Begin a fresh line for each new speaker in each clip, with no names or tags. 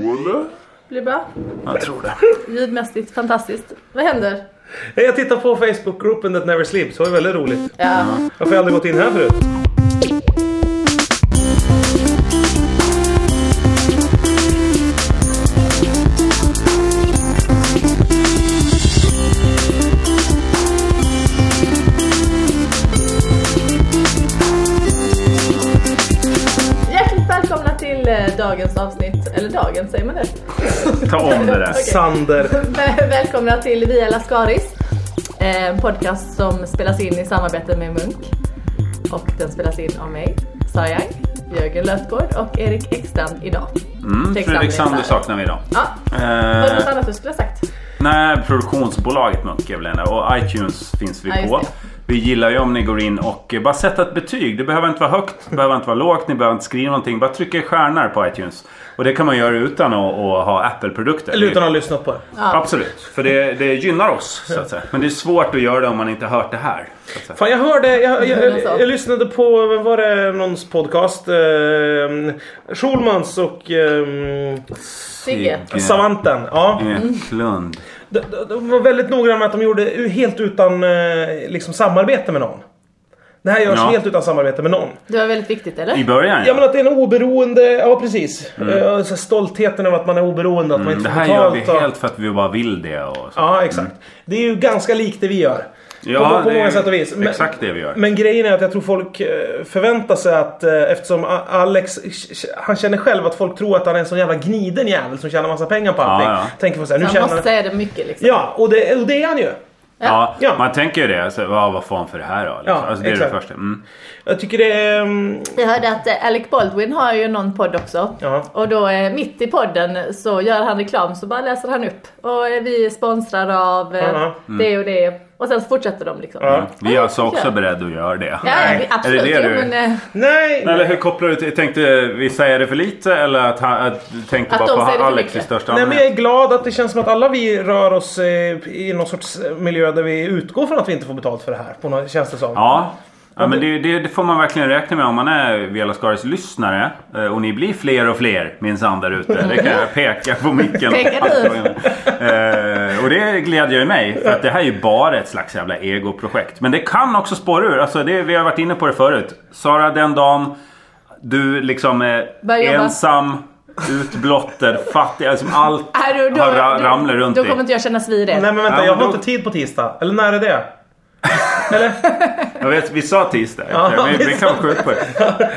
Eller?
Blir det bra?
Jag tror det.
Ljudmässigt fantastiskt. Vad händer?
Hej, Jag tittar på Facebookgruppen That Never Sleeps. Det var ju väldigt roligt.
Ja.
Varför har jag aldrig gått in här förut?
Hjärtligt välkomna till eh, dagens avsnitt. Eller dagens, säger man det?
Ta om det där.
Okej.
Sander.
Väl- Välkomna till Via Lascaris. eh, En podcast som spelas in i samarbete med Munk. Och den spelas in av mig, Sara Young, Jörgen Löfgård och Erik Ekstrand idag.
Mm, Fredrik Sander saknar vi idag.
Ja. Var det något
Eh,
annat du skulle ha sagt?
nej, produktionsbolaget Munk är väl en där. och iTunes finns vi
Ja, just
på.
det.
Vi gillar ju om ni går in och eh, bara sätter ett betyg. Det behöver inte vara högt, det behöver inte vara lågt, ni behöver inte skriva någonting. Bara trycka i stjärnor på iTunes. Och det kan man göra utan att, att ha Apple-produkter.
Eller utan att ha lyssnat på det.
Absolut, för det, det gynnar oss så att säga. Men det är svårt att göra det om man inte hört det här. Så att säga.
Fan, jag hörde... Jag, jag,
Mm,
jag,
alltså.
jag lyssnade på... Vad var det? Någons podcast? Ehm, Schulmans och... ehm,
Sigge?
Ja.
Savanten. Ja.
Mm.
Eklund.
De, de, de var väldigt noggranna med att de gjorde u- helt utan eh, liksom, samarbete med någon. Det här görs
Ja.
helt utan samarbete med någon.
Det var väldigt viktigt, eller?
I början
Ja men att det är en oberoende, ja precis. Eh, så stoltheten över att man är oberoende, att man
Mm,
inte
Det
får
här gör vi
betalt. och-
helt för att vi bara vill det. Och så.
Ja exakt. Det är ju ganska likt det vi gör.
Mm. Ja,
på, på
det är
många sätt och vis. Men,
exakt det vi gör.
men grejen är att jag tror folk eh, förväntar sig att eh, eftersom A- Alex, han känner själv att folk tror att han är en sån jävla gniden jävel som tjänar massa pengar på allting.
ja.
Tänker på såhär, nu
Man
tjänar
måste säga det mycket liksom.
Ja, och det, och det är han ju.
ja,
Ja.
Man tänker ju det. Så, vad, vad får han för det här då? Liksom.
Ja,
alltså, det är
exakt.
det första. Mm.
Jag tycker det är... mm,
Jag hörde att eh, Alec Baldwin har ju någon podd också.
Ja.
Och då eh, mitt i podden så gör han reklam så bara läser han upp. Och eh, vi är sponsrade av eh,
Ja,
det och det. Och sen så fortsätter de liksom.
Ja.
Mm. Vi är alltså
Ja.
också beredda att göra det.
Ja, ja, vi- absolut.
Är det det
Jo,
du...
men, eh,
Nej!
Eller hur kopplar du till, tänkte vi säga det för lite eller att han att, du tänkte
Att
bara
de säger
på
det för
Alex i
mycket.
största
Nej men jag
allmänhet?
är glad att det känns som att alla vi rör oss eh, i någon sorts eh, miljö där vi utgår från att vi inte får betalt för det här. På något, känns det som.
Ja. Ja, men det, det, det får man verkligen räkna med om man är Vela Skaris lyssnare. Eh, Och ni blir fler och fler minsann där ute. Det kan jag peka på micken.
Pekar du?
Eh, och det glädjer ju mig. För att det här är ju bara ett slags jävla egoprojekt. Men det kan också spåra ur. Alltså det, vi har varit inne på det förut. Sara, den dagen du liksom är
Börjar jobba.
ensam, utblottad, fattig. Alltså allt
Här och då,
har ra- ramlar
då,
runt
då
dig.
kommer inte jag kännas vid det.
Nej men vänta,
Ja,
jag
men
har
då-
inte tid på tisdag. Eller när är det?
Jag vet, vi sa tisdag.
Ja,
men vi,
vi
kan vara sjuka på det.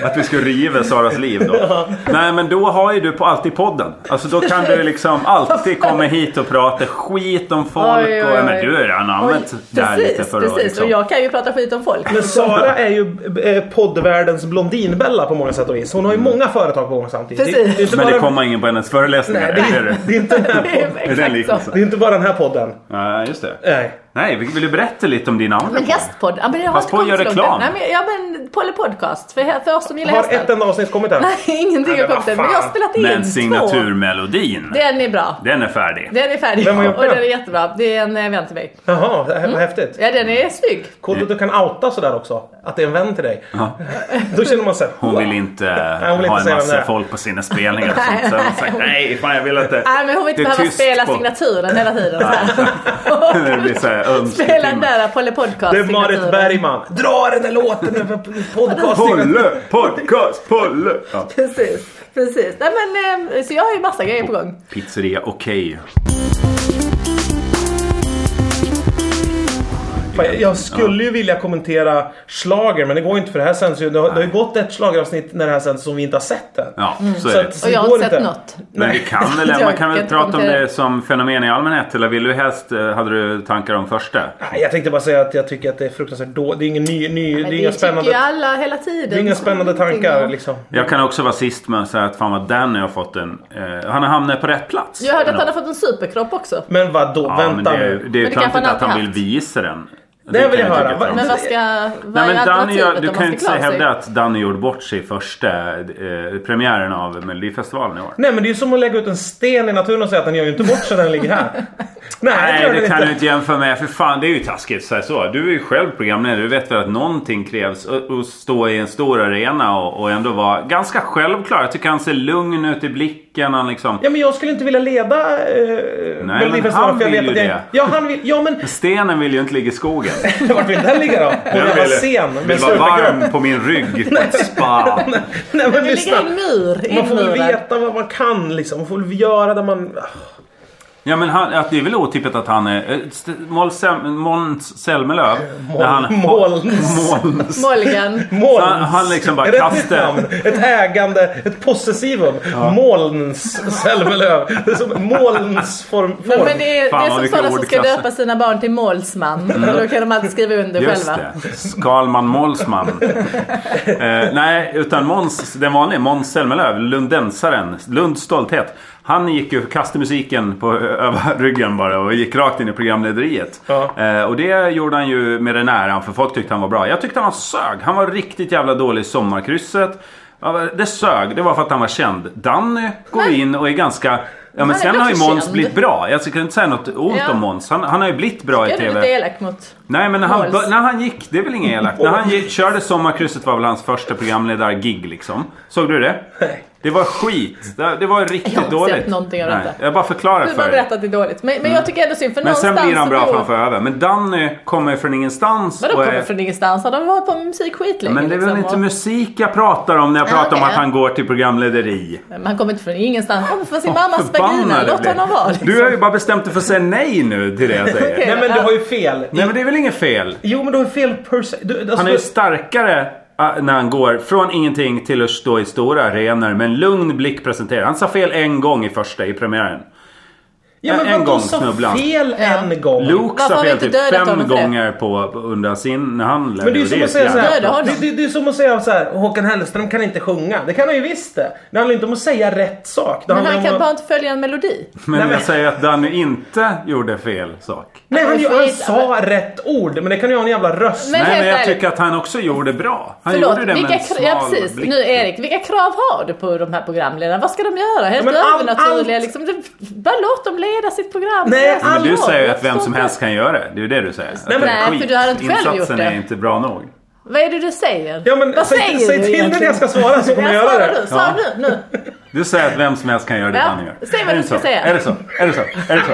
Att vi skulle riva Saras liv då. Nej, men då har ju du på alltid podden. Alltså då kan du liksom alltid komma hit och prata skit om folk.
Oj, oj,
Och,
oj.
men du har ju redan
Oj,
använt det här lite
precis,
för att
precis. Och
liksom...
jag kan ju prata skit om folk.
Men Sara är ju eh, poddvärldens blondinbella på många sätt och vis. Hon har ju många företag på gång samtidigt.
Precis.
är inte
Men det
bara-
kommer ingen på hennes föreläsningar.
Nej, det,
är det.
är, det, är inte den här podden.
Är det en liknelse?
det är inte bara den här podden.
Ja, just det.
Nej.
Nej, vi vill du berätta lite om din andra
Men
podd?
hästpodd. Ja, men jag har
Pass
inte
på att
kommit
göra
så långt än.
reklam.
Nej, men, ja, men Polly Podcast. För, för oss som gillar
Har
hästar.
ett enda avsnitt kommit än?
Nej, ingenting
Nej,
har
men
kommit än.
vad
Men jag har
fan.
spelat in
Men
två.
signaturmelodin,
Den är bra.
den är färdig.
Den är färdig
Vem har gjort
och
den?
den är jättebra. Det är en eh, vän till mig.
Jaha, det
Mm.
här var häftigt.
Ja den är snygg.
Coolt att du kan outa sådär också. Att det är en vän till dig.
Ja.
Då känner man såhär...
Hon vill inte
hon vill
ha en
inte säga vem det
massa
är.
folk på sina spelningar. Och sånt. Så hon har sagt, nej, fan jag vill inte.
Nej men hon vill inte
Det är
behöva
tyst
spela
på-
signaturen hela tiden. så här.
det blir så här
spela den
ömsesidigt.
där Polly Podcast
Det är Marit
signaturen.
Bergman. Dra den där låten nu för podcasten.
Polle! Podcast! Polle! Ja.
Precis, precis. Nej men eh, så jag har ju massa grejer på gång.
Pizzeria Okej.
Fan, jag- Jag skulle ju vilja kommentera slager men det går ju inte för det här sänds ju. Det har, det har ju gått ett slageravsnitt när det här sänds som vi inte har sett än.
Ja, så
Så
är det.
att-
Och jag
det
har
går
inte sett
inte.
något.
Men vi kan väl,
Mm, Jag
man kan
kan
väl
inte
prata om
kommentera.
det som fenomen i allmänhet eller vill du helst, eh, hade du tankar om första?
Nej, Jag tänkte bara säga att jag tycker att det är fruktansvärt dåligt. Det är ingen ny, ny det
Men
är inga spännande,
tycker ju alla hela tiden.
det är inga spännande tankar liksom.
Jag kan också vara sist med att säga att fan vad Danny har fått en, eh, han har hamnat på rätt plats.
Jag hörde att han har fått en superkropp också.
Men vadå?
Ja, men
Vänta
det är,
nu.
det är ju
Men det kanske
klantigt
han
att han
alltid
vill
haft.
visa den.
Det vill
kan
jag höra.
tycka är
Va-
Men
tråkigt.
vad ska... Vad
Nej, men
är
Danny,
alternativet
gör-
om
du
man
kan ju
ska
inte säga
klara sig?
hävda att Danny gjorde bort sig i första eh, premiären av Melodifestivalen i år.
Nej men det är ju som att lägga ut en sten i naturen och säga att den gör ju inte bort sig den ligger här. Nej, det
Nej,
gör
det
den
kan du
inte.
inte jämföra med. För fan, det är ju taskigt. Så här, så. Du är ju själv programledare. Du vet väl att någonting krävs. Att att stå i en stor arena och, och ändå vara ganska självklar. Jag tycker han ser lugn ut i blicken. Han liksom...
Ja men jag skulle inte vilja leda eh,
men
Melodifestivalen
han
för jag
vill
vet att
ju
jag
det.
Ja han vill, ja men
Stenen vill ju inte ligga i skogen.
vart vill den ligga då? På en
Den
jävla
vill-
scen
Vill
med
vara
slutargrupp.
varm på min rygg på ett spa.
Nej men
Det ligger i en
lyssna.
mur. i
Man får väl
muren.
veta vad man kan liksom. Man får väl göra det man...
Ja men han, att det är väl otippat att han är... eh, St- Måns Sem- Måns Zelmerlöw. när han-
Måns.
Måns.
Molgen.
Molns.
Så han- han liksom bara
Är det ett
kastar-
nytt namn? Ett ägande, ett possessivum. Molns Zelmerlöw. Det är som molns form. form.
Men, men det är,
Fan,
det är
vad
som
mycket
sådana som ska
ordklasser.
döpa sina barn till målsman. Då kan de alltid skriva under
Just
själva.
det. Skalman Målsman. eh, nej, utan Måns, den vanliga Måns Zelmerlöw, lundensaren, Lunds stolthet. Han gick ju kastade musiken på över ryggen bara och gick rakt in i programlederiet.
Ja.
Eh, och det gjorde han ju med den äran för folk tyckte han var bra. Jag tyckte han var sög. Han var riktigt jävla dålig i Sommarkrysset. Ja, Det sög, det var för att han var känd. Danny går in och är ganska... Ja men
är väl
sen har ju
också
Måns
känd.
blivit bra. Jag ska inte säga något ont
Ja.
om Måns. Han, han har ju blivit bra i
Jag är
TV.
lite elak mot...
Nej men när han,
Måls.
när han gick, det är väl inget elakt. När han gick, körde Sommarkrysset var väl hans första programledargig liksom. Såg du det?
Nej.
Det var skit. Det, det var riktigt
Jag har inte
dåligt.
sett någonting av
Nej,
detta.
Jag bara förklarar
Du bara
för dig.
berättat att det är dåligt. Men, men jag tycker ändå synd för
Mm. Men sen
någonstans
blir han
så
bra
beror-
framför över. Men Danny kommer från ingenstans.
Vadå
och är-
kommer från ingenstans? Har de varit på musik skitlänge?
men det är väl
liksom,
inte
och-
musik jag pratar om när jag
Ja,
pratar om
okej.
att han går till programlederi.
Men Han kommer inte från ingenstans. Han kommer från sin mammas
Förbannad
vagina.
jag
Låt
blir.
honom vara. Liksom.
Du har ju bara bestämt dig för att säga nej nu till det jag säger.
Okej.
Nej men du har ju fel.
Nej men det är väl inget fel?
Jo men du har ju fel per se. Du, alltså,
Han är ju starkare äh, när han går från ingenting till att stå i stora arenor med en lugn blick presenterar. Han sa fel en gång i första i premiären.
Mm.
ja, men
en
vadå,
gång
sa
snubblan.
fel
Ja.
en gång.
Luke
Varför
sa
har vi
fel
inte
typ
dödat
fem
honom för det?
gånger på, på- under sin handel.
Men det är ju som att säga
jävla Döda
såhär,
honom.
det, det, det är som att säga så här, Håkan Hellström kan inte sjunga. Det kan han ju visst det. Det handlar ju inte om att säga rätt sak. Det
Men
handlar
han
om
kan
att-
bara inte följa en melodi.
Men
Nej, men-
jag säger att Danny inte gjorde fel sak.
Nej han, ju,
Han
han
är
sa rätt ord, men det kan ju ha en jävla röst.
Men
Nej
helt
men jag
ärligt.
tycker att han också gjorde bra. Han
Förlåt,
gjorde det med
vilka,
en
kra-
smal
ja, precis.
blick.
Nu Erik, vilka krav har du på de här programledarna? Vad ska de göra? Helt
men all-
övernaturliga
allt-
liksom. Det- Bara låt dem leda sitt program.
Nej,
Deras
men
Men
Allvar,
du
roll.
säger ju
Jag
att vem
förstår
som
inte.
helst kan göra det. Det är ju det du säger. Att
men-
det är
Nej,
för
skit.
du har inte själv
Insatsen
gjort det.
är inte bra nog.
Vad är det du säger?
Ja men
Vad
säg,
säger
säg
du
till mig när
egentligen?
jag ska svara så kommer jag göra
svara du,
det.
svara
Ja.
nu, nu.
Du säger att vem som helst kan göra det
Ja,
Danny gör.
säg vad
Är
du
det
ska
så?
säga.
Är det så? Är det så? Är det så?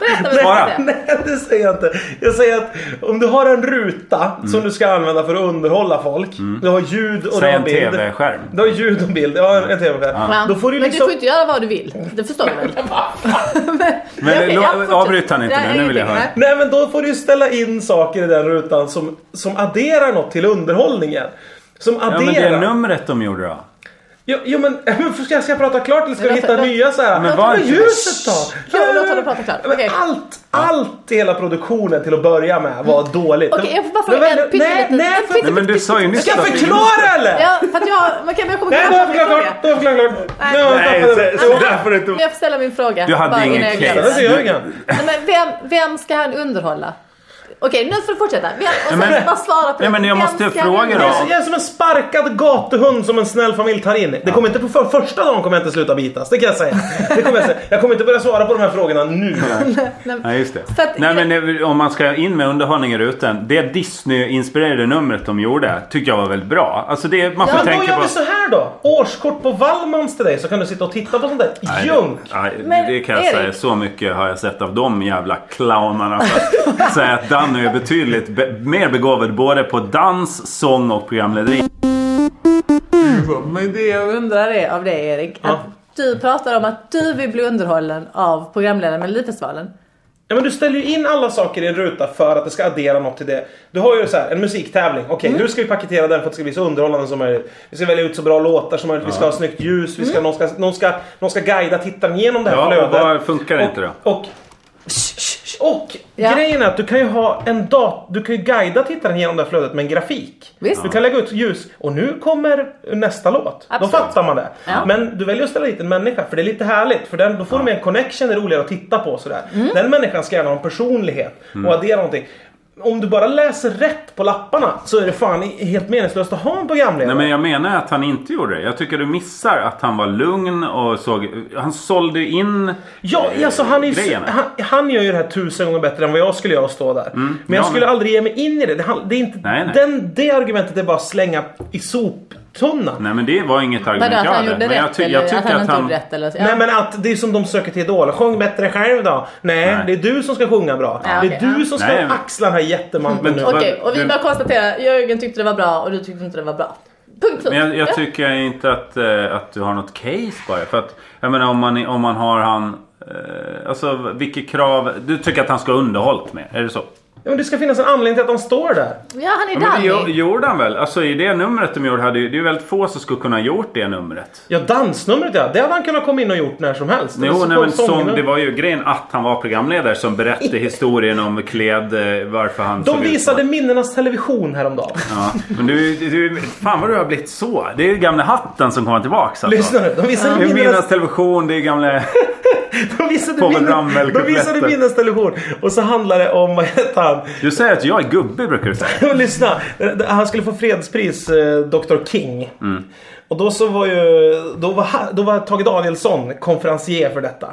Berätta vad du ska
Svara.
säga.
Nej det säger jag inte. Jag säger att om du har en ruta som du ska använda för att underhålla folk. Du har ljud
Mm.
och
Säg
du har
en
bild.
TV-skärm.
Du har ljud och bild. Ja en, en tv-skärm.
Ja.
Då får du
Men du
liksom...
får inte göra vad du vill. Det förstår du väl? men
Men
okej,
lo-
ja, fortsätt.
avbryt han inte
Nej,
nu, nu vill jag
ingenting.
höra.
Nej.
Nej men då får du ju ställa in saker i den rutan som, som adderar något till underhållningen. Som
Ja men det
adderar.
numret de gjorde då?
Jo, jo men, men ska, jag- ska jag prata klart eller ska
Men
vi
låt-
hitta
låt-
nya så här?
Men
Låt
varför?
mig ljuset då!
Ja, låt honom prata klart.
Men
Okej.
Allt, allt i hela produktionen till att börja med var dåligt.
Mm. Okej, jag får bara
Men
fråga en
vänta, Nej,
pytteliten-
nej,
en
för,
Nej men du sa ju nyss
ska jag
att det-
förklara eller?
Ja, för att jag... Okej, men jag kommer
Nej, då har jag
min
förklarat
fråga.
klart. Då har jag förklarat klart. Nu har jag
Nej,
tappat
så,
det.
så där får du inte...
Men Jag får ställa min fråga.
Du hade
bara
ingen
innan
case.
jag
Det
glömmer
var
den.
till Jörgen.
Nej, men vem, vem ska han underhålla? Okej, nu får du fortsätta. Vem, och sen
Nej, men-
bara svara på det.
Nej, men jag
Vem
måste
ska han
fråga då.
Jag är,
underhålla?
så- jag är som en sparkad gatuhund som en snäll familj tar in. Det kommer inte på för, första dagen kommer jag inte sluta bitas, det kan jag säga. Det kommer jag, säga. jag kommer inte börja svara på de här frågorna nu.
Nej, men-
Nej just det.
För att-
Nej men det- om man ska in med underhållning i rutan. Det Disney-inspirerade numret de gjorde tyckte jag var väldigt bra. Alltså det man får
Men då
tänka
gör
på...
vi så här då. Årskort på Wallmans till dig så kan du sitta och titta på sånt där
Nej,
junk.
det- Nej,
Men
det kan jag
Erik-
säga. Så mycket har jag sett av de jävla clownarna. För att säga att Danny är betydligt be- mer begåvad både på dans, sång och programlederi.
Men det jag undrar är av dig Erik. Att Du pratar om att du vill bli underhållen av programledaren Melodifestivalen.
Ja, men du ställer ju in alla saker i en ruta för att det ska addera något till det. Du har ju så här, en musiktävling. Okej, nu ska vi paketera den för att det ska bli så underhållande som möjligt. Vi ska välja ut så bra låtar som möjligt. Vi ska ha snyggt ljus. Vi ska, någon, ska, någon, ska, någon ska guida tittaren genom det här
Ja, och
flödet.
vad funkar inte då?
Och, och, och
Ja.
grejen är att du kan ju ha en dat Du kan ju guida tittaren genom det här flödet med en grafik.
Visst.
Du kan lägga ut ljus. Och nu kommer nästa låt.
Absolut.
Då fattar man det.
Ja.
Men du väljer att ställa dit en människa för det är lite härligt. För den, då
Mm.
Mm.
får de en connection, det är roligare att titta på och sådär. Den människan ska gärna ha en personlighet och addera någonting. om du bara läser rätt på lapparna så är det fan i- helt meningslöst att ha en programledare.
Nej men jag menar att han inte gjorde det. Jag tycker du missar att han var lugn och såg... Han sålde in...
Ja,
eh,
alltså han, är ju,
grejerna.
han, han gör ju det här tusen gånger bättre än vad jag skulle göra att stå där. men
Mm.
jag
ja,
skulle
men-
aldrig ge mig in i det. Det, han- det, är inte,
Nej, nej.
Den, det argumentet är bara att slänga i soptunnan. Nej.
Nej men det var inget argument
Vadå, att
jag
han
hade.
gjorde
Oh Men jag,
rätt?
ty- jag
Eller att
tycker
han
att
inte
han...
gjorde rätt? Eller, så.
men att det är som de söker till Idol. Sjung bättre själv då. Nej,
Nej.
det är du som ska sjunga bra.
Ja,
det är
okej,
du
ja.
som ska
Nej, men-
axla den här jättemanteln
Men-
nu.
Okej, och vi
Men-
bara konstaterar. Jörgen tyckte det var bra och du tyckte inte det var bra. Punkt slut.
Men jag, jag
Ja.
tycker inte att, eh, att du har något case bara. För att, jag menar om man, om man har han... Eh, alltså vilket krav... Du tycker att han ska ha underhållit med? Är det så?
Ja, men det ska finnas en anledning till att de står där.
Ja, han är
Ja, men det gjo-
Danny.
gjorde han väl? Alltså i det numret de gjorde hade ju... Det är ju väldigt få som skulle kunna ha gjort det numret.
Ja, dansnumret ja. Det hade han kunnat komma in och gjort när som helst. Alltså, Eller
Jo,
så
nej,
kom
men som,
sångerna.
det var ju grejen att han var programledare som berättade historien om Kled, eh, varför han såg
De
ut som
visade
han-
minnenas television häromdagen.
Ja, men du, du, fan vad du har blivit så. Det är ju gamla hatten som kommer tillbaks alltså.
Lyssna nu. De visade
Det är
minnenas
minnas television, det är gamla...
De visade,
Povel
minnes,
Ramel,
de visade
kotletter.
minnestelevision och så handlade det om, vad hette han?
Du säger att jag är gubbe brukar du säga.
Och lyssna, han skulle få fredspris, eh, Dr King.
Mm.
Och då så var ju, då var, ha- då var Tage Danielsson konferencier för detta.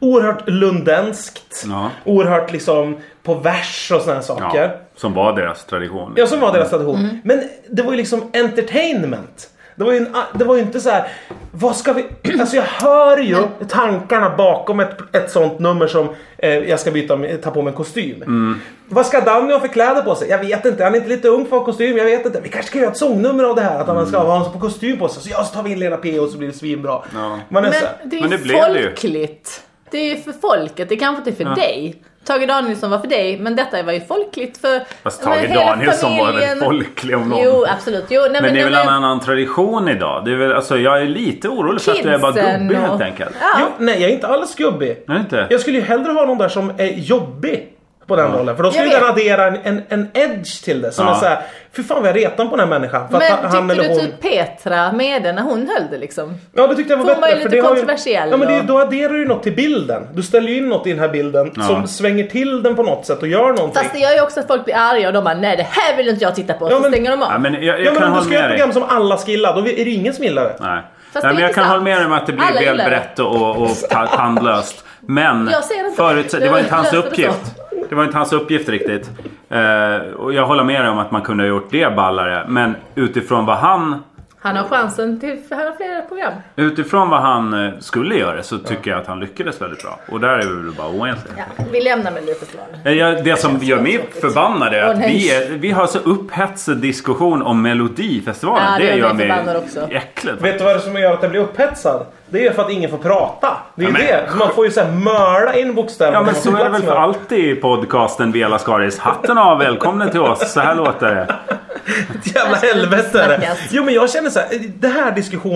Oerhört lundenskt.
Mm. Ja.
Oerhört liksom på vers och sådana saker.
Ja, som var deras tradition.
Ja, som var deras tradition.
Mm.
Men det var ju liksom entertainment. Det var ju, en, det var ju inte så här. vad ska vi... Alltså jag hör ju tankarna bakom ett, ett sånt nummer som eh, jag ska byta, ta på mig en kostym. Vad ska Danny ha för kläder på sig? Jag vet inte, han är inte lite ung för att ha kostym, jag vet inte. Vi kanske kan göra ett sångnummer av det här, att han ska ha en kostym på sig. Så jag så tar vi in Lena P och så blir det svinbra.
Ja.
Man är så här,
Men det är
Men det
ju
blev det ju.
folkligt. Det är ju för folket. Det kanske inte är för dig. Tage Danielsson var för dig, men detta var ju folkligt för...
Fast
men
Tage
hela
Danielsson var väl
familjen.
folklig om någon.
Jo, absolut. Jo, nej, men,
men det är
jag
väl en annan tradition idag? Det är väl, alltså, jag är lite orolig för att du är bara
Kidsen
gubbig
och-
helt enkelt.
Ja.
Jo, nej, jag är inte alls gubbig.
Är det inte?
Jag skulle ju hellre ha någon där som är jobbig på den rollen. För då skulle
Jag
den
vet.
addera en, en, en edge till det. Som
Ja.
är såhär, fy fan vad jag retar på den här människan. För att han-
Men
han
tyckte
eller
du
hon...
typ Petra med den när hon höll det liksom?
Ja, det tyckte jag var
Hon
bättre.
var ju
för
lite
det har ju-
kontroversiell
Ja, men det, är ju-
och-
då adderar du ju något till bilden. Du ställer ju in något i den här bilden
Ja.
som svänger till den på något sätt och gör någonting.
Fast det gör ju också att folk blir arga och de bara nej det här vill inte jag titta på.
Ja,
så
men-
stänger de av.
Ja, men jag, jag
ja, men
kan
om du
hålla
ska göra
med
ett
dig.
program som alla ska gilla, då är det ju ingen som gillar det.
Nej.
Fast
Nej,
det är
men jag kan
intressant.
hålla med dig om att det blir
Alla
väl
gillar det.
brett och, och ta- tandlöst. Men
Jag säger inte
förut,
det.
det var inte hans
Jag löste det
uppgift. Det var inte hans uppgift riktigt. Eh, och jag håller med dig om att man kunde ha gjort det ballare. Men utifrån vad han,
Han har chansen till han har flera program.
utifrån vad han eh, skulle göra så tycker jag att han lyckades väldigt bra. Och där är vi väl bara oense.
Ja, vi lämnar med lite svar.
Eh, jag- Det som gör mig förbannad är
Åh,
att
nej.
vi, är, vi har så upphetsad diskussion om Melodifestivalen.
Ja, det
det
gör
gör
mig
mig
förbannad också.
jäkligt.
Vet du vad det är som gör att jag blir upphetsad? Det är ju för att ingen får prata. Det är ju
Ja, men-
det. Man får ju såhär mörda in bokstäver.
Ja men
man
så
får
är det
plats
väl
med
för
dem.
alltid i podcasten Vela Skaris. Hatten av, välkommen till oss. Så här låter det.
Ett jävla
Jag skulle inte
helvete är det.
snackas.
Jo men jag känner så här, eh, det här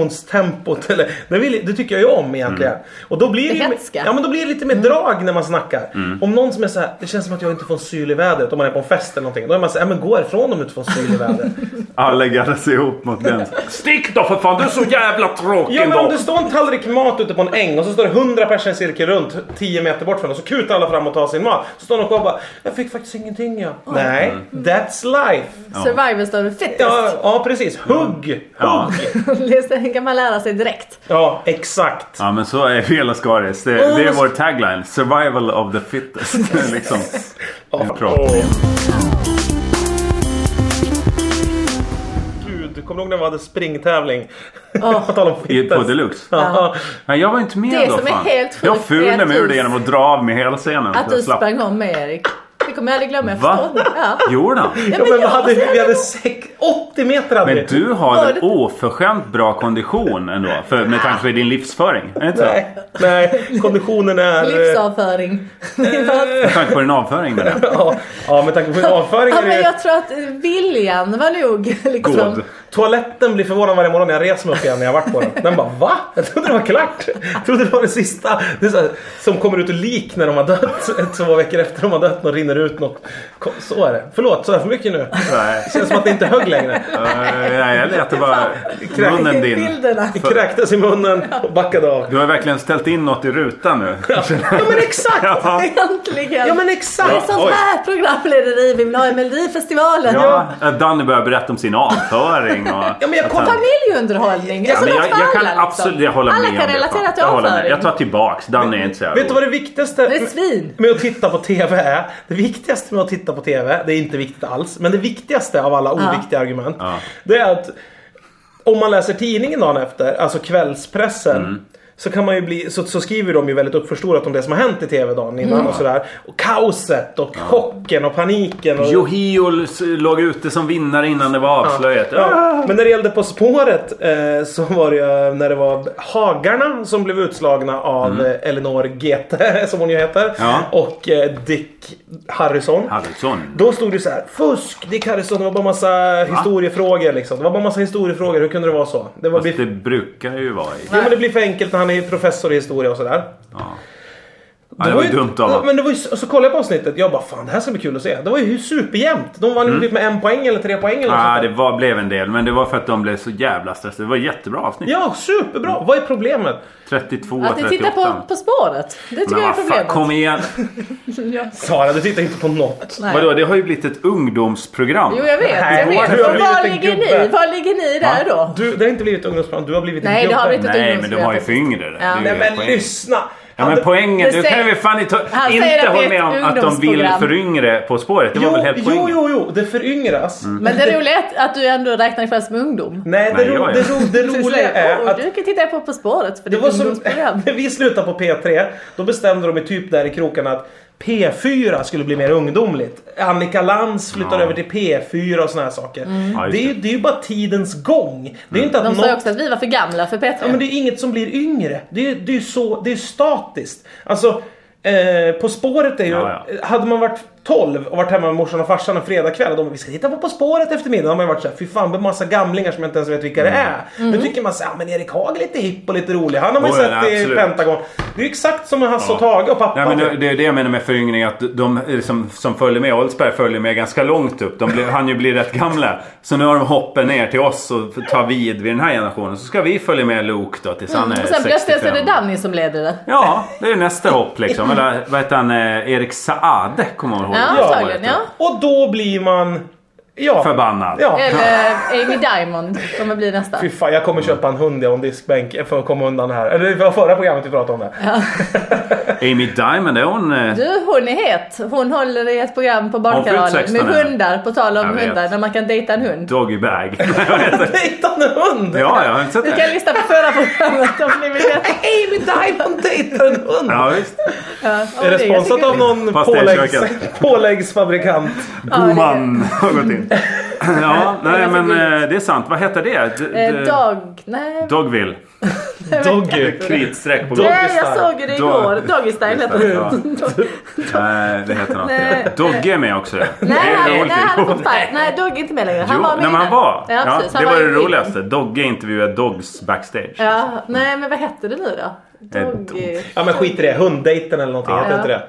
diskussionstempot, eller, det, vill, det tycker jag ju om egentligen. Och då blir det, ju-
hetska.
ja, men då blir det lite mer drag när man snackar. Om någon som är så här, det känns som att jag inte får en syl i vädret om man är på en fest eller någonting. Då är man så här, ja, men gå härifrån om du inte får en syl i vädret.
Alla gaddar sig ihop mot den. Stick då för fan, du är så jävla tråkig
ja men om
då.
det står en tallrik mat ute på en äng och så står det 100 personer i en cirkel runt 10 meter bort från och så kutar alla fram och tar sin mat. Så står de kvar och bara, jag fick faktiskt ingenting jag. Nej, that's life.
Survivors står fittest.
Ja, ja precis, hugg! Hugg! Ja,
Ja.
Det kan man lära sig direkt.
exakt.
Ja men så är Vela Skaris. Det, det är vår tagline. Survival of the fittest. liksom. Bra.
Gud, kommer du ihåg när vi hade springtävling?
Åh.
På tal om
I-
fitness.
På deluxe.
Ja.
Nej, jag var inte med
Det
då
som är
fan.
helt sjukt
jag
är
fulade
att
mig ur
du-
det genom att dra av mig hela scenen.
Att
Jag
du
slapp.
sprang om mig Erik. Det kommer jag aldrig glömma. Jag
Va?
förstår inte. Ja.
Gjorde han?
Ja,
Ja, men vi
jag-
hade, vi hade sex, 80 meter hade vi.
Men du har väl
Förut-
oförskämt bra kondition ändå? För, med tanke på din livsföring. Är det inte så?
Nej, nej, konditionen är... eh,
Livsavföring. Det är bara-
Med tanke på din avföring menar jag.
Ja, ja, med tanke på min avföring
ja,
är det
men
ju...
jag tror att viljan var nog liksom.
God.
Toaletten blir förvånad varje morgon när jag reser mig upp igen när jag varit på den. Den bara va? Jag trodde det var klart. Jag trodde det var det sista. Det är så här, som kommer ut ur lik när de har dött. Två veckor efter de har dött och rinner ut något. Ko- Så är det. Förlåt, sa jag för mycket nu?
Nej.
Det känns som att det inte högg längre.
Eh, nej, jag lät det bara... Munnen din.
Bilderna.
Kräktes i munnen och backade av.
Du har verkligen ställt in något i rutan nu.
Ja men exakt!
Ja,
Äntligen!
Ja men
det är
exakt!
sånt
oj.
här programlederi vi vill ha i Melodifestivalen.
ja, att Danny börjar berätta om sin avföring och...
Ja, men jag kom-
att han-
Familjeunderhållning.
Ja,
Alltså
men
något
jag,
för
jag kan
alla, liksom.
absolut jag håller
Alla
med
kan
om det,
relatera
fan.
till
jag, håller med.
avföring.
jag tar tillbaks, Danny är inte så jävla
Vet du vad det viktigaste
Det är svin.
med att titta på TV är? Det viktigaste med att titta på TV, det är inte viktigt alls, men det viktigaste av alla oviktiga argument.
Ja.
Det är att om man läser tidningen dagen efter, alltså kvällspressen.
Mm.
Så, kan man ju bli, så, så skriver de ju väldigt uppförstorat om det som har hänt i TV dagen innan
Mm.
och sådär. Och kaoset och chocken och paniken. Och,
Johiol s- låg ute som vinnare innan det var avslöjat.
Ja, men när det gällde På spåret eh, så var det ju när det var Hagarna som blev utslagna av eh, Elinor Gete, som hon ju heter.
Mm. Ja.
Och eh, Dick Harrison.
Harrison.
Då stod det så här, fusk Dick Harrison, det var bara massa historiefrågor liksom. Det var bara massa historiefrågor, hur kunde det vara så? Det var
Fast
blir...
det brukar ju vara i...
Jo men det blir för enkelt när han är professor i historia och sådär.
Ja. Ja, det var ju dumt av
Ja,
honom.
Men det var ju, och så kollade jag på avsnittet, jag bara fan det här ska bli kul att se. Det var ju superjämnt. De vann ju typ med en poäng eller tre poäng eller något sånt
Mm. Ja,
där.
Ah, det var, blev en del. Men det var för att de blev så jävla stressade. Det var ett jättebra avsnitt.
Ja, superbra! Vad är problemet?
32,
Att ni
38.
tittar på På spåret. Det tycker
men
jag är
vad fan,
problemet.
kom igen.
Sara, du tittar inte på något.
Nej.
Vadå, det har ju blivit ett ungdomsprogram.
Jo jag vet,
Nej,
jag vet.
du har
Men Var
blivit en
ligger
gubbe.
ni? Var ligger ni där
Va?
då?
Du, det har inte blivit ungdomsprogram, du har blivit en
Nej, det har
gubbe.
blivit ett
Nej, men de har ju för yngre. Det är ju
Nej men
poäng.
lyssna!
Ja men poängen,
Du
nu kan
säger-
vi fan inte,
Han säger
inte
att det är
hålla
ett
med om att de vill
ungdomsprogram.
för yngre På spåret. Det var
jo,
väl helt
jo,
poängen?
jo, jo, det föryngras.
Men det roliga är att du ändå räknar dig själv som ungdom.
Nej, det,
Nej,
ro,
jag är-
det, ro, det roliga är
att...
att
Du kan titta på På spåret för det
det
är
var
ett
som,
ungdomsprogram.
när vi slutade på P3, då bestämde de i typ där i krokarna att P4 skulle bli mer ungdomligt. Annika Lantz flyttar
Ja.
över till P4 och såna här saker.
Ja, just
Det, är ju, det är ju bara tidens gång. Det är ju inte att
Mm. De sa ju
något
också att vi var för gamla för P3.
Ja, men det
Eh.
är inget som blir yngre. Det är, det är så, det är statiskt. Alltså, eh, På spåret är ju...
Ja,
Hade man varit 12 och varit hemma med morsan och farsan en fredagkväll och de bara, vi ska titta på På spåret eftermiddag. Då har man ju varit såhär, fy fan, det är massa gamlingar som jag inte ens vet vilka det
Mm.
är. Nu tycker man såhär, ah, men Erik Haag är lite hipp och lite rolig. Han har man ju
Oj,
sett
nej,
i
Oh, absolut.
Pentagon. Det är ju exakt som med Hasse
Ja.
och Tage och pappa.
Nej, men det, det är det jag menar med föryngring, att de eh, som, som följer med, Oldsberg följer med ganska långt upp. De blir, han ju blir rätt gamla. Så nu har de hoppen ner till oss och tar vid vid den här generationen. Så ska vi följa med Luke då tills han är
Mm, Och sen
65.
plötsligt så är det Danny som leder det.
Ja, det är nästa hopp liksom. Eller vad heter han? eh, Erik Saade kommer man ihåg.
Ja,
Ja,
antagligen. Ja.
Och då blir man... Ja.
Förbannad.
Ja.
Eller eh, Amy Diamond kommer bli nästa.
Fy fan, jag kommer köpa en hund jag och en diskbänk för att komma undan det här. Eller det var förra programmet vi pratade om det.
Amy Diamond, är hon... eh,
Du, hon är het. Hon håller i ett program på
Hon
Barnkanalen
fyllde
med
16 nu.
hundar. På tal om
Jag vet.
hundar, när man kan dejta en hund.
Doggy bag. Vad heter det?
Dejtande hund!
ja, jag har inte sett
Ni kan
det.
lyssna på förra programmet om ni vill veta.
Amy Diamond dejtar en hund!
Ja, visst.
Ja,
Är det sponsrat av någon
Fast det är
påläggs,
köket.
påläggsfabrikant?
det är-
God man har gått in. Ja, nej men eh, det är sant. Vad heter det? D-
Eh,
d-
Dag... Nej.
Dogville.
Doggy.
Kritstreck på
Dog-
golvet.
Nej, jag såg det igår.
Dog-
Doggy style heter
Ja.
det.
Nej, det heter
Nej.
något. Dogge är med också. Nej,
Nej, han- nej, han är på fire. Nej, Doggy är inte med längre. Han
Jo,
var med
nej, men han
innan.
var.
Ja,
Ja,
precis. Han
det var
ju
det
med.
roligaste. Dogge intervjuade Dogs backstage.
Ja, nej men vad hette det nu då?
Eh,
Doggy.
Ja men skit i det, hunddejten eller någonting, heter inte det?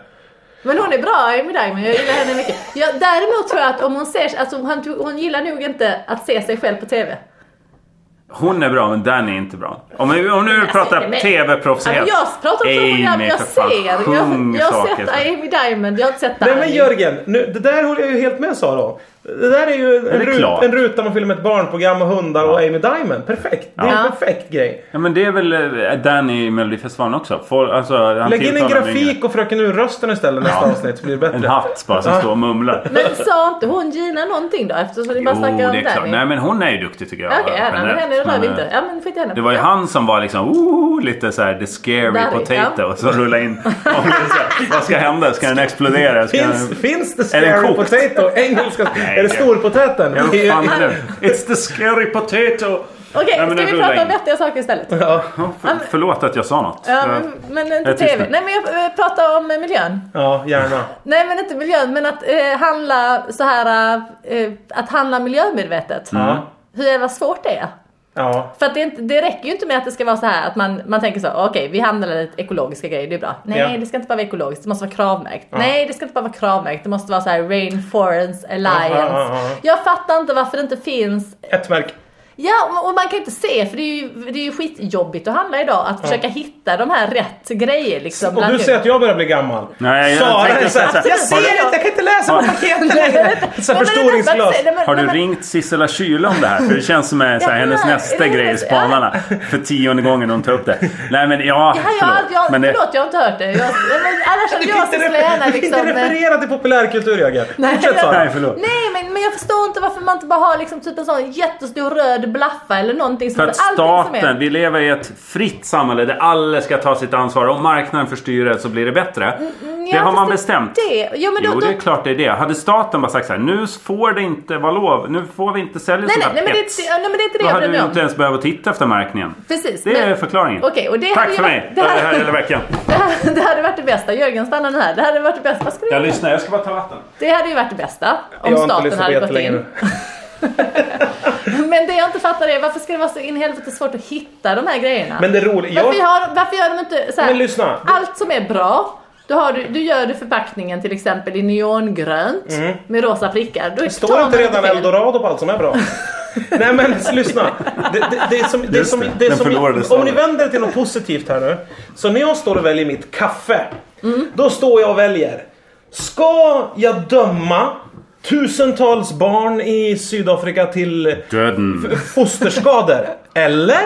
Men hon är bra, Amy Diamond. Jag gillar henne mycket. Ja, däremot tror jag att om hon ser alltså hon, hon gillar nog inte att se sig själv på TV.
Hon är bra, men Danny är inte bra. Om, vi- om nu pratar
men-
TV-proffsighet.
Alltså, jag pratar om
Amy,
program jag
för fan,
ser. Jag,
sjung
jag har
saker.
sett Amy Diamond, jag har inte sett
Nej men
Danny.
Jörgen, nu, det där håller jag ju helt med Sara om. Det där är ju en,
det är
rut,
klart.
en ruta man fyller med ett barnprogram och hundar och Amy Diamond. Perfekt! Det är
Ja.
en perfekt grej.
Ja, men det är väl eh, Danny i Melodifestivalen också. Folk- alltså, han
Lägg in en
tilltalar mig
grafik och Fröken Ur-rösten istället nästa avsnitt så blir det
En
bättre.
hatt bara som står och mumlar.
Men sa inte hon Gina någonting då? Eftersom ni bara
Jo, det
snackar om
är klart.
Danny.
Nej men hon är ju duktig tycker jag.
Okej, okay, ja, men
generellt.
henne rör
Men,
vi inte.
eh,
Ja men skit i henne.
Det var ju han som var liksom "Ooh", lite så här the scary
Där,
potato som rullade in. Och det är så här, Vad ska hända? Ska den explodera? Ska den...
Finns, finns det
Är den
scary
kokt?
potato? Engelska?
Nej,
är det
det-
storpotäten?
Ja, vad fan är det? It's the scary potato!
Okej,
Nej, men den
ska vi
rullar
prata om
in.
vettiga saker istället?
Ja.
Ja, för, förlåt att jag sa något.
Ja,
Jag-
men, men inte
jag tystnar.
TV. Nej men jag eh, pratar om eh, miljön.
ja, gärna.
Nej men inte miljön, men att eh, handla så här eh, att handla miljömedvetet.
Ja.
Mm.
Hur jävla svårt det är.
Ja.
För att det, är inte, det räcker ju inte med att det ska vara så här att man, man tänker så, okej vi handlar lite ekologiska grejer, det är bra. Nej
Ja.
det ska inte bara vara ekologiskt, det måste vara kravmärkt. Nej det ska inte bara vara kravmärkt, det måste vara så här Rainforest Alliance.
Aha, aha.
Jag fattar inte varför det inte finns
Ett märke.
Ja, och man kan inte se för det är ju, det är ju skitjobbigt att handla idag. Att försöka hitta de här rätt grejer liksom.
Och
bland
du säger att jag börjar bli gammal.
Nej, jag
Sara
tänkte
är
säga
såhär,
så här,
jag ser
har du-
inte, jag kan inte läsa på paketet längre. Så här
Men- men-
förstoringsglas.
men- men-
Har du
men-
ringt Sissela Kyle om det här? För det känns som är så här,
Ja,
hennes
är det
nästa
hennes-
grej i
ja.
Spanarna. För tionde gången hon tar upp det. Nej men ja,
Ja, jag, jag,
Men det,
förlåt, jag har inte hört det. Jag, men annars hade
Du
jag
kan
så
inte,
skulle jag gärna
refer- du kan
liksom...
inte referera till populärkultur Jörgen.
Nej,
Fortsätt
jag-
nej
Sara.
förlåt.
Nej men, men jag förstår inte varför man inte bara har liksom typ en sån jättestor röd blaffa eller någonting. som-
För att
allting som är-
staten, vi lever i ett fritt samhälle där alla ska ta sitt ansvar. Om marknaden får styra så blir det bättre.
Mm, Ja,
Det har
fast
man bestämt.
Det, jo men då,
Jo,
då,
det är klart det är det. Hade staten bara sagt så här, nu får det inte vara lov, nu får vi inte sälja
nej, nej,
sånt här
nej, men det,
pets."
det, nej men det är inte det
Då
jag
hade
bryr
vi
mig
ju
om.
inte ens behövt titta efter märkningen.
Precis.
Det är
men-
förklaringen.
Okej, och det
Tack
hade ju
för
varit-
mig!
det
Det
hade-
här är veckan.
Det här- det hade varit det bästa. Jörgen stannar nu här. Det hade varit det bästa. Vad skulle du
Jag
göra?
lyssnar, jag ska bara ta vatten.
Det hade ju varit det bästa. Om
Jag har inte
staten
lyssnat på
hade gått
jättelänge
in.
nu.
Men det jag inte fattar är varför ska det vara så in i helvete svårt att hitta de här grejerna?
Men det roliga,
varför,
jag...
har, varför gör de inte så här,
Men lyssna.
allt som är bra då har du, du gör du förpackningen till exempel i neongrönt
Mm.
med rosa prickar. Då tar
Står
man
inte redan
fel.
eldorado på allt som är bra? Nej men lyssna. Det, det, det är som, det är
Just
som,
det,
det är
den
som,
förlorade
om ni
salen.
vänder det till något positivt här nu. Så när jag står och väljer mitt kaffe. Då står jag och väljer. Ska jag döma tusentals barn i Sydafrika till
Döden.
f- fosterskador? Eller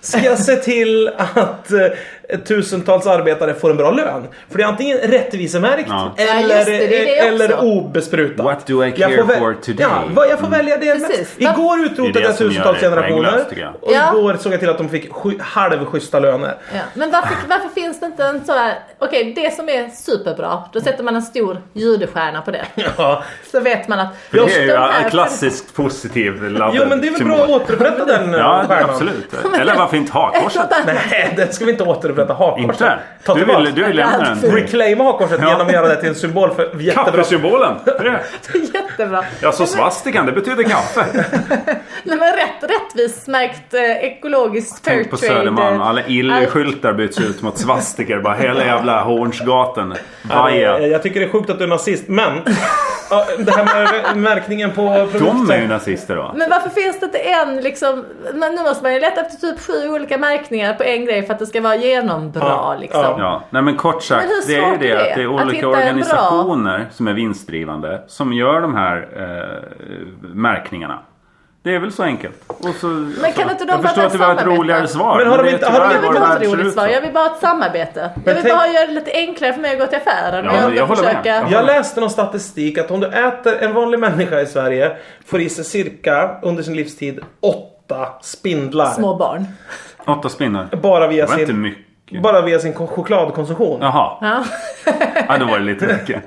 ska jag se till att eh, tusentals arbetare får en bra lön? För det är antingen rättvisemärkt
Ja.
Ja,
eller, eh,
just det, det är det också.
eller obesprutat.
What do I
Jag
care
får väl-
for today? Mm.
Ja, vad jag får välja det.
Precis.
Men- Igår utrotade
Det är det
jag
som
tusentals
gör det
generationer.
poänglöst, tycker jag.
Och
Ja.
igår såg jag till att de fick sju- halvschyssta löner.
Ja. Men varför, varför finns det inte en sån här, okej det som är superbra, då sätter man en stor judestjärna på det.
Ja.
Så vet man att...
För det är
de här-
ju en klassiskt positiv laddad
Jo men det är väl bra att
symbol.
återupprätta den
Ja,
eh, stjärnan?
absolut. Eller varför inte
Ett
hakkorset?
och annat.
Nej, det ska vi inte återupprätta. Hakkorset.
Inte?
Ta
Du
tillbaka.
vill, du vill lämna den.
Reclaima hakkorset
Ja.
genom att göra det till en symbol för jättebra
Kaffesymbolen! Det är det.
Jättebra.
Jag såg svastikan, det betyder kaffe.
Nej men rätt, rättvist märkt eh, ekologiskt fairtrade.
Tänk på Södermalm, alla
all-
illskyltar byts ut mot svastikor. Bara hela jävla Hornsgatan.
Ja,
Vaja.
Eh, Jag tycker det är sjukt att du är nazist, men ja, det här med märkningen på
De är ju
produkten.
nazister va?
Men varför finns det inte en liksom, men nu måste man ju leta efter typ sju olika märkningar på en grej för att det ska vara genombra
Ja,
liksom.
ja.
Ja, nej men kort sagt.
Men hur
det är ju
svårt
det
är det?
att det är
Att
olika
hitta en bra-
organisationer som är vinstdrivande som gör de här eh, märkningarna. Det är väl så enkelt. Och så, men
kan inte de
jag
bara
förstår att det var ett
samarbeta?
roligare svar.
Men har de
det är
inte- har de
tyvärr
Jag vill
vad
inte
det
ha ett
här ser
roligt
ut
svar,
som.
jag vill bara ha ett samarbete. Jag vill
tänk-
bara göra det lite enklare för mig att gå till affären.
Ja,
och
men jag
vill
håller med.
försöka...
Jag
Jag läste någon statistik att om du äter en vanlig människa i Sverige får i sig cirka under sin livstid åtta spindlar.
Små barn.
Åtta spinnar.
Bara via
Det var inte
sin...
mycket.
Bara via sin ko- chokladkonsumtion.
Jaha,
Ja.
ja, då var det lite mycket.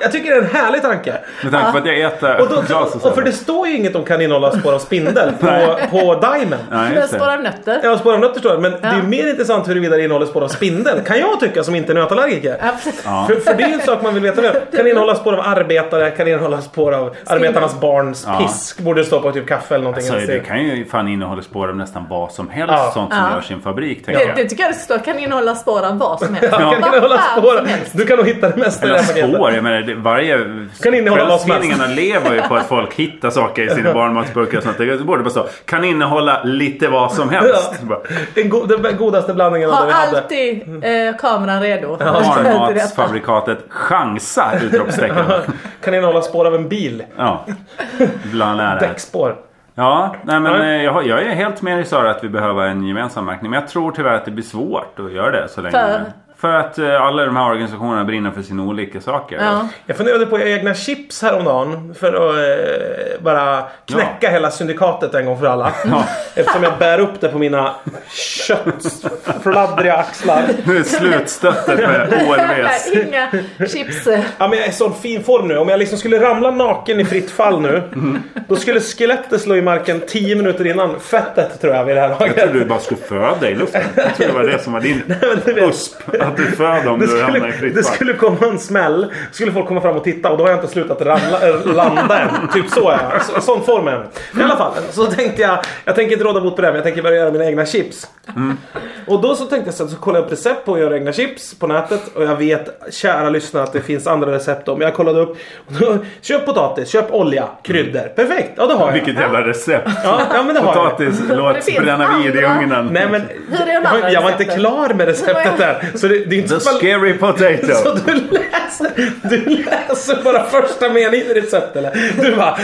Jag tycker det är en härlig tanke.
Med tanke på att jag äter
Och, då,
choklad så
och för det står ju inget om kan innehålla spår av spindel på, på Diamond.
Nej,
Med
just
spår
det.
av nötter.
Ja, spår av nötter står det, men det är
Ja.
ju mer intressant huruvida det innehåller spår av spindel. Kan jag tycka som inte är nötallergiker.
Ja, precis.
Ja.
För, för det är ju en sak man vill veta nu. Kan innehålla spår av arbetare, kan innehålla spår av arbetarnas barns
Ja.
pisk. Borde det stå på typ kaffe eller någonting.
Så
Alltså,
det kan ju fan innehålla spår av nästan vad som helst.
Ja.
Sånt som
Ja.
görs i en fabrik. Tänker
Det,
jag.
det tycker jag det ska stå, kan innehålla spår av vad som helst.
kan
Vad
innehålla
fan
spår.
som helst.
Du kan nog hitta det mesta i det
Eller
här paketet.
spår, jag menar det, varje...
Kan innehålla vad som helst.
Kvällstidningarna lever ju på att folk hittar saker i sina barnmatsburkar och sånt. Det borde bara stå kan innehålla lite vad som helst. Bara,
Den, go- den godaste blandningen av det
Ha
vi hade.
alltid eh, kameran redo.
Barnmatsfabrikatet Chansa! Utropstecken.
Kan innehålla spår av en bil.
Ja. Bland lärare.
Däckspår.
Ja, nej men
Nej.
eh, jag, har- jag är helt med dig Sara att vi behöver en gemensam märkning. Men jag tror tyvärr att det blir svårt att göra det så länge.
För?
För att eh, alla de här organisationerna brinner för sina olika saker.
Ja.
Jag funderade på egna chips häromdagen för att eh, bara knäcka hela syndikatet en gång för alla.
Ja.
Eftersom jag bär upp det på mina köttfladdriga axlar.
Nu är slutstötet med OLVs.
Inga chips. eh,
Ja, men jag är i sån fin form nu. Om jag liksom skulle ramla naken i fritt fall nu. Då skulle skelettet slå i marken 10 minuter innan fettet tror jag vid det här
Jag
laget.
trodde du bara skulle föda i luften. Jag trodde det var det som var din USP. att du föd om
Det
du hamnar i
skulle,
fritt
det
fall.
skulle komma en smäll. skulle folk komma fram och titta och då har jag inte slutat ramla, äh, landa än. Typ så är jag. Så, sån form är jag. Men I alla fall, så tänkte jag. Jag tänker inte råda bot på det här, men jag tänker börja göra mina egna chips.
Mm.
Och då så tänkte jag så, här, så kollade jag upp recept på att göra egna chips på nätet. Och jag vet, kära lyssnare, att det finns andra recept om. Jag kollade upp. Och då, köp potatis, köp olja, kryddor. Perfekt, ja det har jag.
Vilket jävla recept.
Ja, ja men det har jag.
Potatis,
Det
låt
finns
bränna vid i
andra.
ugnen.
Nej men
Hur är de
jag, var-
andra
jag var inte
recepten?
klar med receptet där. Så det, det är inte
The
så att man-
scary
Så
potato.
du läser, du läser bara första meningen i recept eller? Du bara...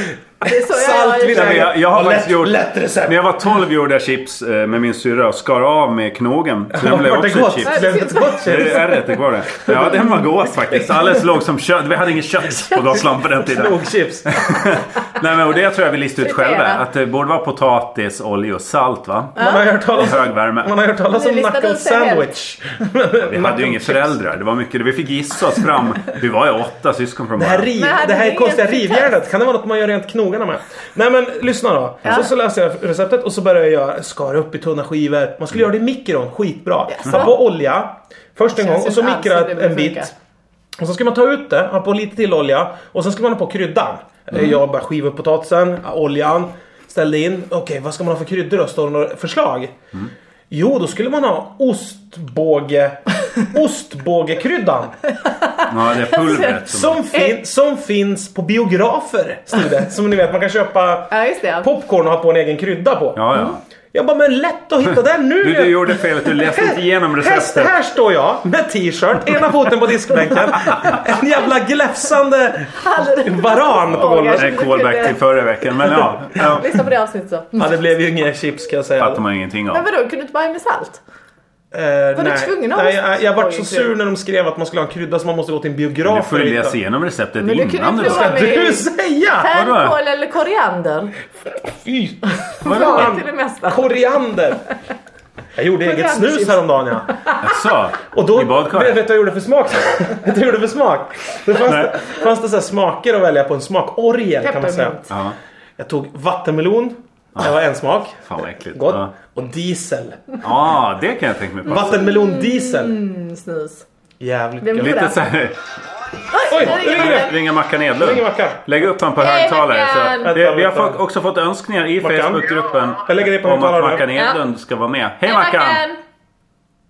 Det är så jag
salt,
gör.
Nej, men jag, jag har
och
faktiskt
lätt,
gjort...
lätt recept.
När jag var 12 gjorde jag chips eh, med min syrra och skar av med knogen. Så den blev
Vart det
också ett
gott?
chips.
Blev det ett gott
Det
chips?
är ärret det kvar det. Ja, den var god faktiskt. Alldeles låg som kött. Vi hade inget kött på Gotland på den tiden.
Knogchips.
Nej men och det tror jag vi listat ut själva.
Friterad.
Att det borde vara potatis, olja och salt va?
Man har hört talas,
Hög värme.
man har hört talas
Nu
om
listade
knuckle
du sig helt.
sandwich.
Vi hade ju inga föräldrar. Det var mycket, vi fick gissa oss fram. Vi var ju åtta syskon från
Det här,
början.
riv,
Men hade
det här
du
är konstiga
inget
rivjärnet, kan det vara något man gör rent knogarna med? Nej men lyssna då. Så, så läste jag receptet och så började jag göra, skara upp i tunna skivor. Man skulle göra det i mikron, skitbra.
Jaså?
Ta på olja först en
Känns
gång och
inte
så
alls
mikra
hur det
en
brukar
bit. Och så ska man ta ut det, ha på lite till olja och sen ska man ha på kryddan. Mm. Jag bara skivar upp potatisen, oljan, ställde in. Okej, vad ska man ha för kryddor då? Står det några förslag? Jo, då skulle man ha ostbåge... ostbågekryddan.
Ja, det pulvret. Som...
Som, fin, som finns på biografer, stod det. Som ni vet, man kan köpa
Ja, just det.
popcorn och ha på en egen krydda på.
Ja, ja.
Jag bara, men lätt att hitta den nu!
Du, du gjorde felet. Du läste inte igenom receptet.
Här, här står jag med t-shirt, ena foten på diskbänken, en jävla gläfsande varan på
Det
golvet.
är en callback till förra veckan. Men ja. ja.
Lyssna på det avsnittet så.
Ja, det blev ju inga chips kan jag säga.
fattar man ingenting
Men
av.
vadå, kunde du inte bara ha med salt?
Eh,
Var du
nej.
tvungen att ha
nej, jag, jag vart så
ostbåge?
sur när de skrev att man skulle ha en krydda som man måste gå till en biograf
Du får
för
ju
att
läsa
hitta.
igenom receptet
Men du kunde
innan
ju
du
prova
ska...
med-
Du säga!
Vadå?
Färdkål eller koriander?
Fy
Ja,
fan!
till det mesta.
Koriander! Jag gjorde eget
Koriander
snus
chips.
häromdagen ja.
Jaså?
Och då,
I
vet,
badkaret?
vet du vad jag gjorde för smak? vet du vad jag gjorde för smak? Det fanns, det, fanns det så här smaker att välja på en smak. Orgel kan man säga.
Peppermint.
Ja.
Jag tog vattenmelon. Det var en smak.
Fan vad äckligt.
Gott.
Ja.
Och diesel.
Ja, det kan jag tänka mig passa.
Vattenmelon diesel.
Mm, snus.
Jävligt
Vem
gott.
gjorde
Lite såhär...
Oj,
där
nu
är
ringer det.
Ringa Mackan
Ingen
Edlund.
macka.
Lägg upp han på
Hej,
högtalare. Så.
Mackan!
Det,
Vänta,
vi har
vänta.
fått, också fått önskningar i
Mackan?
Facebookgruppen.
Jag lägger dig på
Om att
högtalare.
Mackan Edlund ska vara med. Hej Mackan!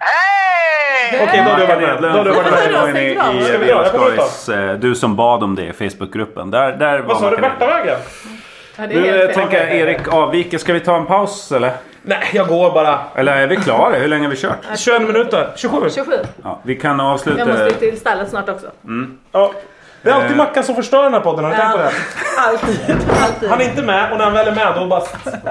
Hej!
Okej, då har du varit
Mackan
med. Då har
Edlund var
du varit med.
första gången i,
Vad bra,
i
jag
Vela
kommer inte
Skojs, eh, Du som bad om det i Facebookgruppen. Där, där var
Vad sa du?
Mackan Edlund.
Värtavägen?
Ja, det är
Nu eh,
helt fel.
tänker jag Erik avvika. Ska vi ta en paus eller?
Nej, jag går bara.
Eller är vi klara? Hur länge har vi kört?
21 minuter. 27.
27.
Ja, vi kan
Jag
avsluta.
måste ju till stallet snart också.
Ja. Det är
Eh.
alltid Mackan som förstör den här podden. Har ni tänkt på det?
Alltid. Alltid.
Han är inte med och när han väl är med då bara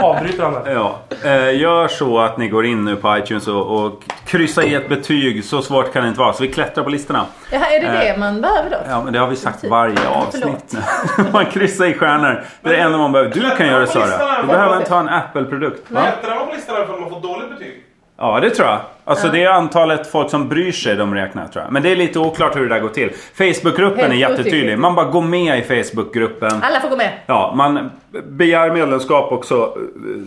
avbryter han det.
Ja, eh, gör så att ni går in nu på iTunes och, och kryssar i ett betyg. Så svårt kan det inte vara. Så vi klättrar på listorna.
Jaha, är det det man behöver då?
Ja, men det har vi sagt
Typ.
varje avsnitt nu. man kryssar i stjärnor. Det är det enda man behöver. Du kan göra det Sara. Du behöver inte ha en Apple-produkt. Va?
Klättrar man på listan här om man får dåligt betyg?
Ja, det tror jag. Alltså det är antalet folk som bryr sig de räknar tror jag. Men det är lite oklart hur det där går till. Facebookgruppen är
Helt
jättetydlig.
otydligt.
Man bara går med i Facebookgruppen.
Alla får gå med.
Ja, man begär medlemskap och så eh,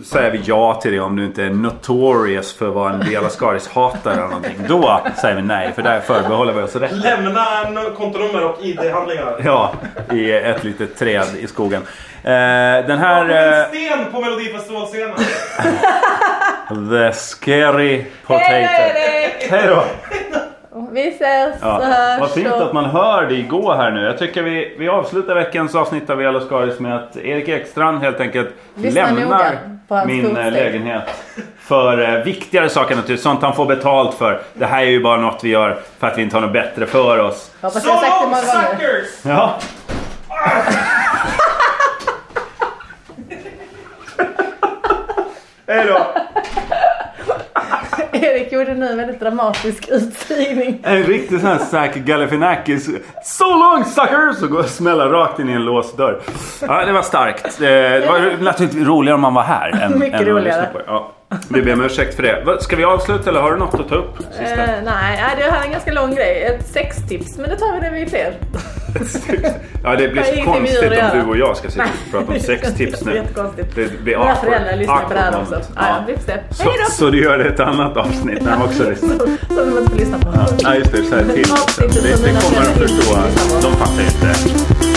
säger vi ja till det om du inte är notorious för vad en Bela Skaris-hatare eller någonting. Då säger vi nej, för där förbehåller vi oss rätten.
Lämna en kontonummer och ID-handlingar.
Ja, i ett litet träd i skogen. Eh, den
Kom
här... Eh,
en sten på Melodifestivalscenen.
the Scary Potato.
Erik!
Hej då!
Vi ses
Ja.
och hörs.
Vad fint
och-
att man hör dig gå här nu. Jag tycker vi, vi avslutar veckans avsnitt av Vela Skaris med att Erik Ekstrand helt enkelt
Lyssna noga
lämnar
på hans
min eh,
fotsteg.
lägenhet. För eh, viktigare saker naturligtvis. Sånt han får betalt för. Det här är ju bara något vi gör för att vi inte har något bättre för oss.
Jag Hoppas
So
jag har sagt det
long
många gånger.
suckers!
Ja. Hej då!
Erik gjorde nu en väldigt dramatisk utsigning.
En riktig sån här Zack Galifianakis So long suckers! Och går och smäller rakt in i en låst dörr. Ja, det var starkt. Eh, Det var naturligtvis roligare om man var här. Än,
Mycket
än om man
roligare.
lyssnar på det. Ja, vi ber om ursäkt för det. Vad, Ska vi avsluta eller har du något att ta upp?
äh, Eh, nej, nej, det här är en ganska lång grej. Ett sextips, men det tar vi när vi är fler.
Ja, det blir
Jag har
så
ingenting med
konstigt
att
om
göra.
du och jag ska sitta och prata om sextips
Det är
nu.
jättekonstigt.
Det blir
Mina
awkward.
föräldrar lyssnar på det här
Awkward
också.
moment.
Ja, vi får se. Hej
Så,
då!
så du gör ett annat avsnitt när de också lyssnar.
Som de inte får lyssna på.
Ja, just det. Så här till. Det, det kommer de förstå. De fattar ju inte.